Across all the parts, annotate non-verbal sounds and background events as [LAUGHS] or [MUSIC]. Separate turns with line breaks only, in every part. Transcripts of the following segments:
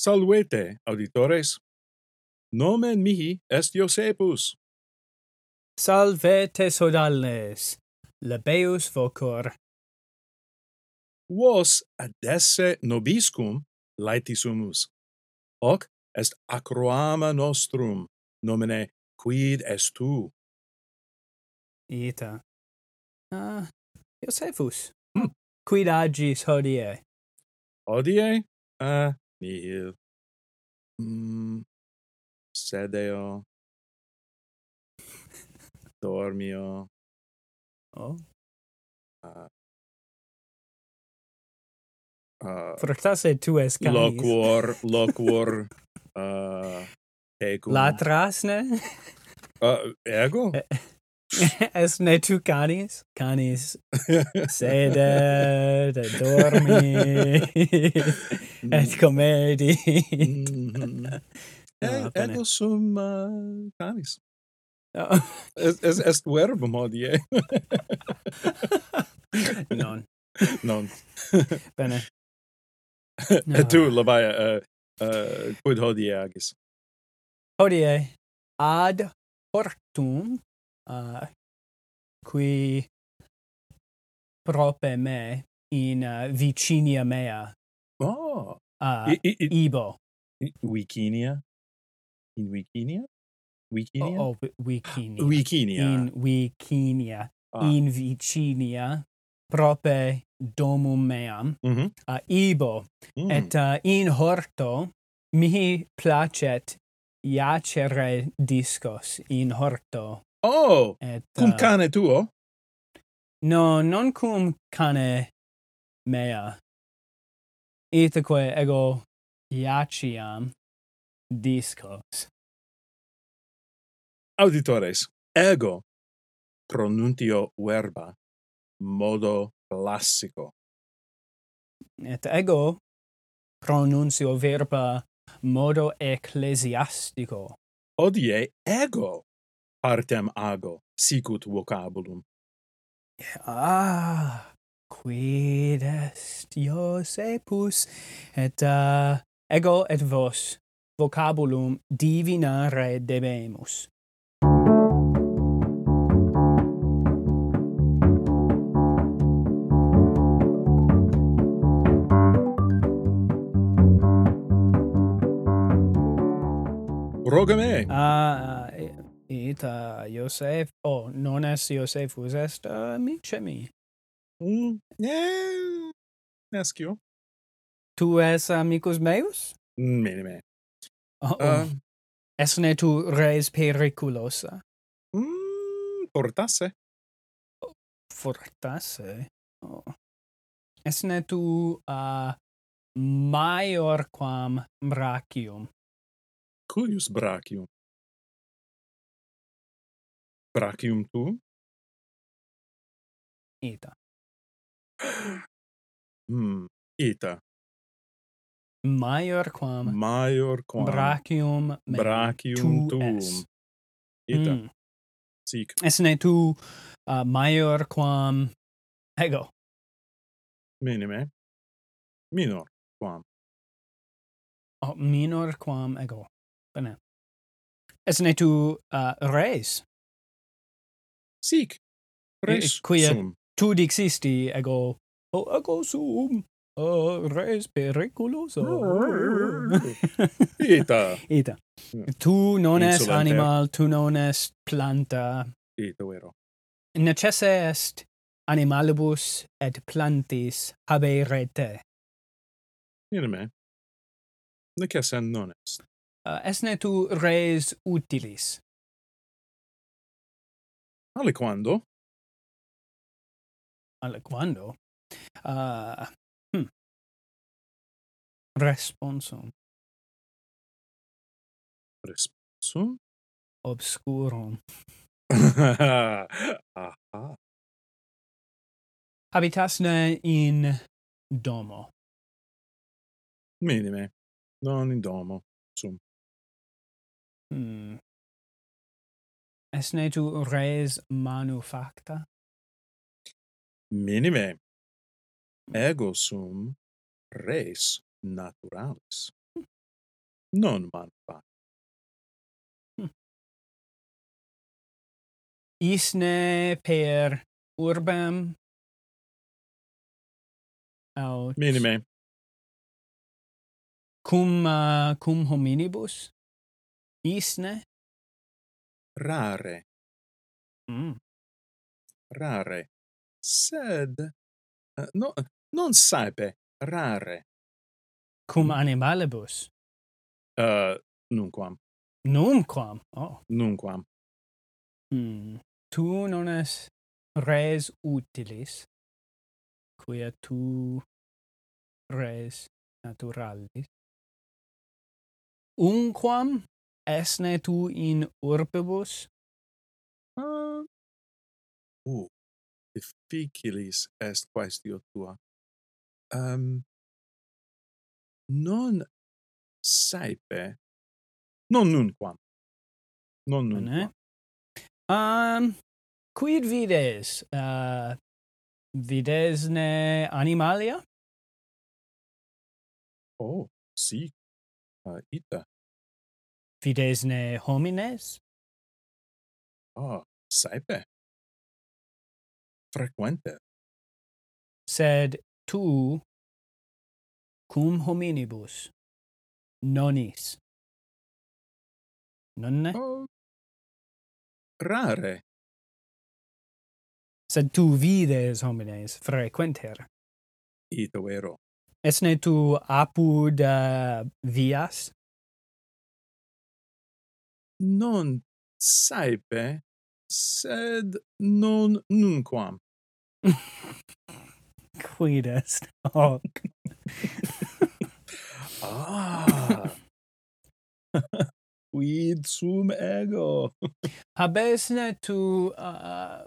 Salvete, auditores. Nomen mihi est Iosepus.
Salve tesodales, lebeus vocor.
Vos adesse nobiscum laetisumus. Hoc est acroama nostrum, nomine quid est tu?
Ita. Ah, Iosefus, quid agis hodie?
Hodie? Ah, nihil. Mm, sedeo. Dormio.
Oh,
Uh,
fructase tu es canis. [LAUGHS]
loquor, loquor. uh, tecum.
Latrasne?
Uh, ego?
[LAUGHS] es ne tu canis? Canis
[LAUGHS]
sede, de dormi, et comedi. [LAUGHS]
Mhm.
Ah,
Eh,
bene.
ego sum uh, canis.
Oh,
Est, est, est verbum hodie.
[LAUGHS]
[LAUGHS]
non,
non.
bene.
Et tu, Labaya, uh, uh, quid hodie agis?
hodie ad hortum uh, qui prope me in uh, vicinia mea
Oh,
uh,
I, I, I,
ibo
Wikinia? In Wikinia? Wikinia?
o, o v-
Wikinia.
vicinia Oh, in vicinia
ah.
in vicinia prope domum meam
Mhm.
uh, ibo
Mm.
et uh, in horto mihi placet iacere discos in horto
oh,
et
cum
uh,
cane tuo?
No, non cum cane mea. Itaque ego iaciam discos.
Auditores, ego pronuntio verba modo classico.
Et ego pronuncio verba modo ecclesiastico.
Hodie ego partem ago sicut vocabulum.
Ah, quid est Iosepus et uh, ego et vos vocabulum divinare debemus.
Roga me!
Ah, e- ita Iosef, oh, non est Iosefus, est uh, micemi.
Mm. Eh, nescio.
Tu es amicus meus?
Mene Mm, me.
Oh,
Uh,
es ne tu res periculosa?
mm, portasse.
Fortasse. Oh. Es ne tu uh, maior quam brachium?
Cuius brachium? Brachium tu?
Ita.
Hmm. Ita.
Maior quam,
Maior quam
brachium meum
brachium
tu
tuum.
es.
Ita.
Mm.
Sic.
Es ne tu uh, maior quam ego?
Mene me. Minor quam.
Oh, minor quam ego. Bene. Es ne tu uh, res.
Sic. Res
quia-
sum.
Tu dixisti ego. Oh, ego sum. Uh, res periculoso.
[LAUGHS] Ita.
Ita. Tu non es
Insolente.
animal, tu non est planta.
Ita vero.
Necesse est animalibus et plantis habere te.
Mene me. Necessem non est.
Uh, esne tu res utilis.
Aliquando?
aliquando uh, hmm. responsum
Responsum?
obscurum
[LAUGHS] Aha.
habitasne in domo
Mene me. Non in domo. Sum.
hmm. esne tu res manufacta
Minime. Ego sum res naturalis. non manfani.
Isne per urbam aut
Minime.
cum uh, cum hominibus isne
Rare,
mm.
rare. Sed, eh, no, non saepe, rare.
cum animalibus
Uh, nunquam,
numquam oh
nunquam.
mm. tu non es res utilis quia tu res naturalis unquam esne tu in urbibus
Uh, uh, difficilis est quaestio tua. Um, non saepe, non nunquam. Non
Bene.
nunquam.
Um, quid vides? Uh, videsne animalia?
Oh, si, uh, ita,
Videsne homines?
ah, saepe. Frequente,
Sed tu cum hominibus nonis. Nonne?
oh, rare,
Sed tu vides homines frequenter.
ita vero.
Esne tu apud uh, vias?
Non saepe, sed non nunquam.
Quid est hoc?
Ah. [LAUGHS] Quid sum ego?
habesne tu uh,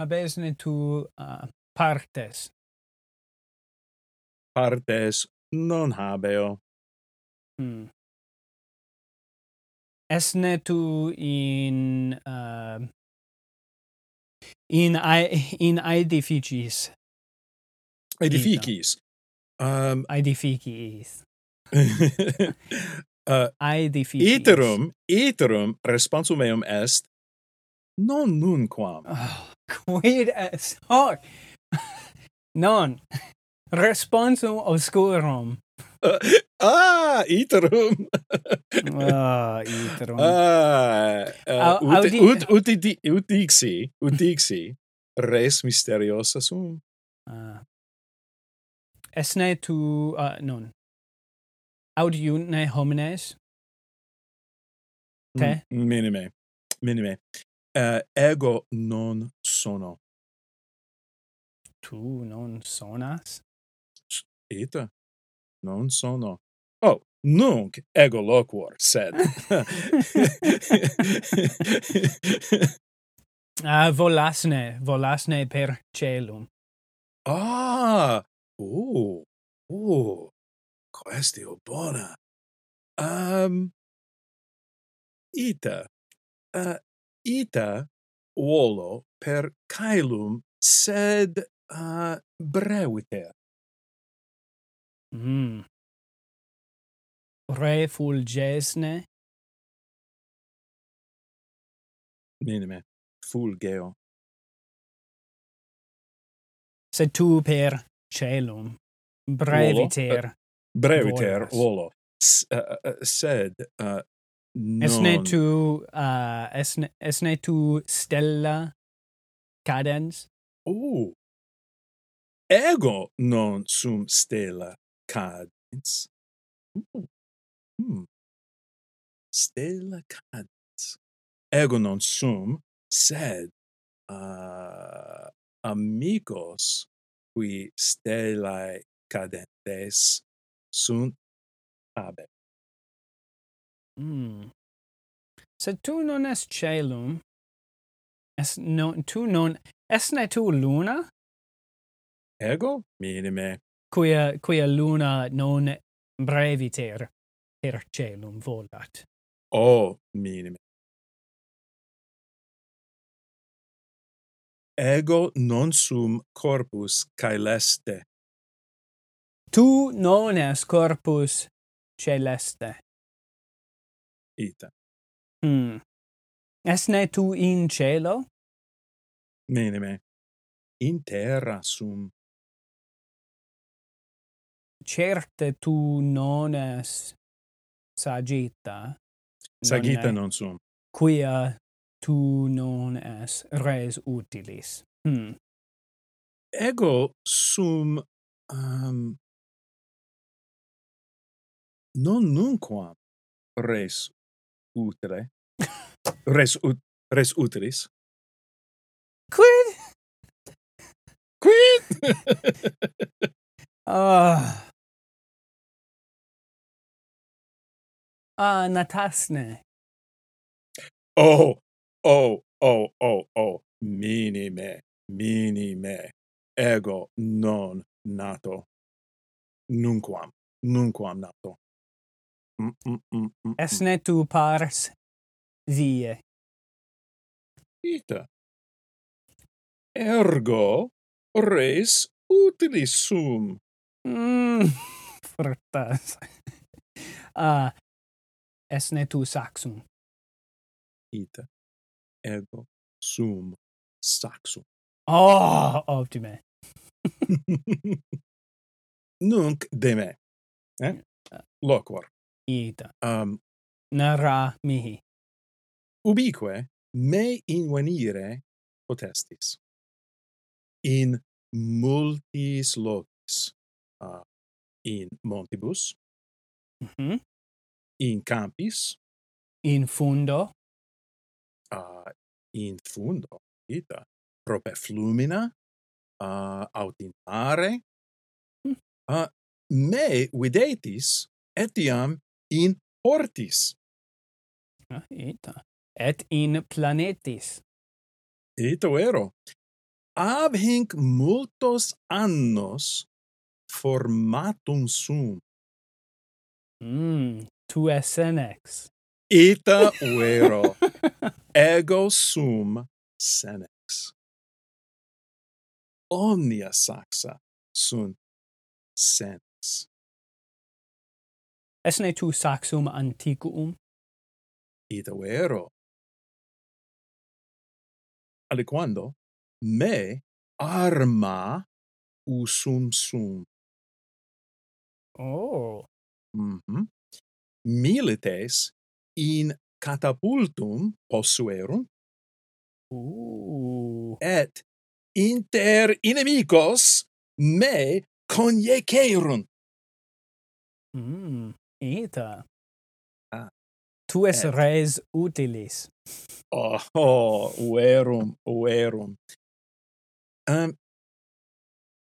habesne tu uh, partes
Partes non habeo.
hmm. esne tu in uh, in ai- in aedificis
Edificis. Um,
aedificis
uh,
aedificis
[LAUGHS] iterum, iterum responsum meum est non nunquam.
oh, quid est hoc [LAUGHS] non responsum obscurum
[LAUGHS] ah, iterum. [LAUGHS]
ah iterum
ah, uh,
Au-
ut,
audi-
ut, ut, ut, ut dixi, ut dixi, res mysteriosa sum.
Ah. Esne tu uh, non. Audiuntne homines Te?
Mm, minime. Minime. Uh, ego non sono.
tu non sonas.
Ita, non sono. Oh, nunc ego loquor,
[LAUGHS]
sed. [LAUGHS]
Ah volasne, volasne per celum.
ah, oh, oh, questio bona. Um, ita, uh, ita volo per caelum, sed uh, breviter.
Mm. Refulgesne
Minime, fulgeo.
sed tu per celum breviter.
Breviter
Volas.
volo. S- uh, uh, sed, uh, non...
Esne tu uh, esne esne tu stella cadens.
Oh. Ego non sum stella cadens. Ooh. Hmm. Stella cadens. Ego non sum, sed uh, amigos qui stellae cadentes sunt habe.
Mm. Sed tu non es celum, es non, tu non, esne tu luna,
Ego minime.
quia, quia luna non breviter per celum volat.
O Oh, minime. Ego non sum corpus caeleste.
Tu non es corpus celeste,
ita.
Hmm. Esne tu in cielo?
Minime. In terra sum.
Certe tu non es sagitta.
Sagita
non.
non sum.
è- Quia tu non es res utilis. Hmm.
Ego sum um, non nunquam res
[LAUGHS]
utile. Res ut res utilis.
Quid?
Quid
Ah. Ah, natasne.
Oh, oh, oh, oh, oh, minime, minime, ego non nato, nunquam, nunquam nato. Mm, mm, mm, mm, mm.
Esne tu pars vie.
Ita. Ergo res utilis sum.
Mm. [LAUGHS] Fortas. [LAUGHS] Ah. Esne tu saxum.
Ita. Ego sum saxum. [LAUGHS]
Oh, optime.
Nunc de me. Eh? Loquor.
Ita.
Um,
Nara mihi.
ubique me invenire potestis in multis locis uh, in montibus
Mhm.
in campis
In fundo.
uh, in fundo ita prope flumina uh, aut in mare
Mm.
uh, me videtis etiam in hortis
Ah, Ita. Et in planetis.
Ito ero. Ab hinc multos annos formatum sum.
Mm. Tu esenex.
Ita vero. Ego sum senex. Omnia saxa sunt senex.
Esne tu saxum antiquum?
Ita vero. Aliquando me arma usum sum.
Oh.
Mhm. Milites in catapultum possuerunt
Ooh.
et inter inimicos me conjecerunt.
Mm. Ita.
Ah.
Tu es
Et.
res utilis.
Oh, verum, verum. Um,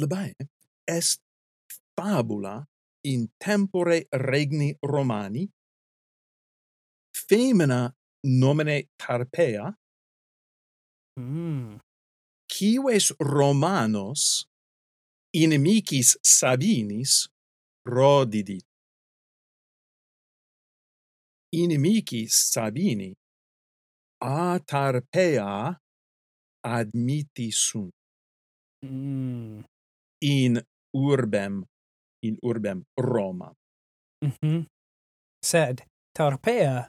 labae, est fabula in tempore regni Romani, femina nomine Tarpeia,
Mm.
quies Romanos inimicis Sabinis rodidit. Inimicis Sabini a Tarpeia admitti sunt
Mm.
in urbem in urbem Roma.
Mhm. Sed Tarpeia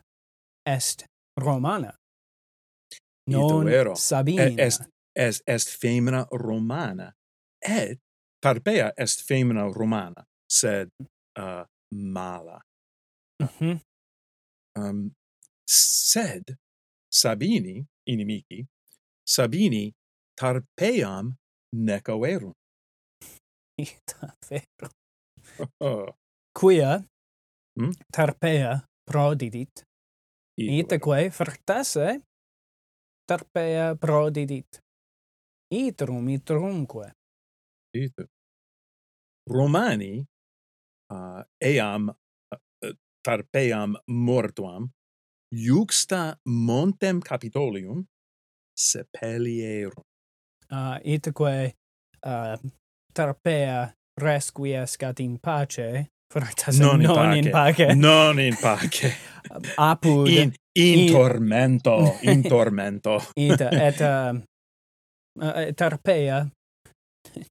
est Romana. Non
vero.
Sabina.
E- Est est est femina Romana et Tarpeia est femina Romana sed uh, mala
Mhm.
um, sed Sabini inimici Sabini Tarpeiam necaverunt.
[LAUGHS] Ita vero.
Oh,
Quia
Mm?
Tarpeia prodidit. Itaque fortasse Tarpeia prodidit. Itrum itrumque.
Ita. Romani uh, eam uh, uh, Tarpeiam mortuam iuxta montem Capitolium sepelierunt.
uh, itaque uh, Tarpeia resquiescat in pace, fortasse non, in pace,
Non in pace.
Eh. apud
In, in,
In-
tormento, in tormento.
ita, et um, uh, Tarpeia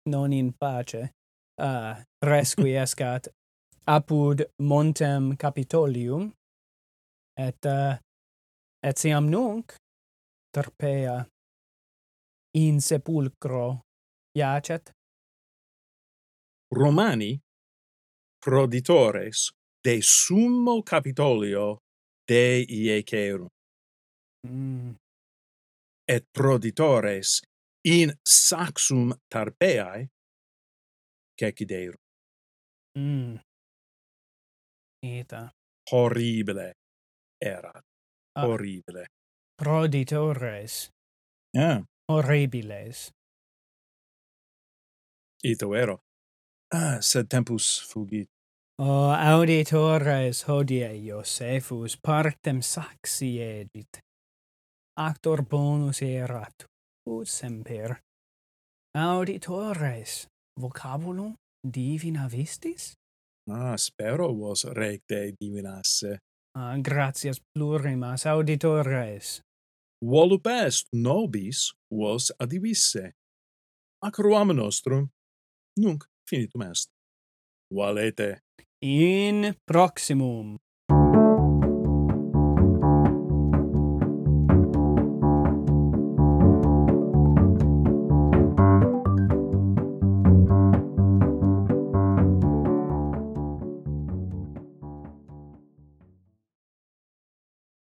non in pace uh, resquiescat apud montem Capitolium et uh, et siam nunc Tarpeia in sepulcro iacet
Romani proditores de summo Capitolio de Iecerum
mm.
et proditores in saxum Tarpeae ceciderum.
Mm. Eta
Horribile erat.
Ah.
Horribile.
proditores
Yeah.
horribiles
Ito ero. Ah, sed tempus fugit.
O auditores Oh, hodie Iosephus partem saxi edit. Actor bonus erat, ut semper. Auditores, vocabulum divina vistis?
Ah, spero vos recte divinasse.
Ah, gratias plurimas auditores.
Volup est nobis vos adivisse. Acroam nostrum, nunc finitum est. Valete.
In proximum.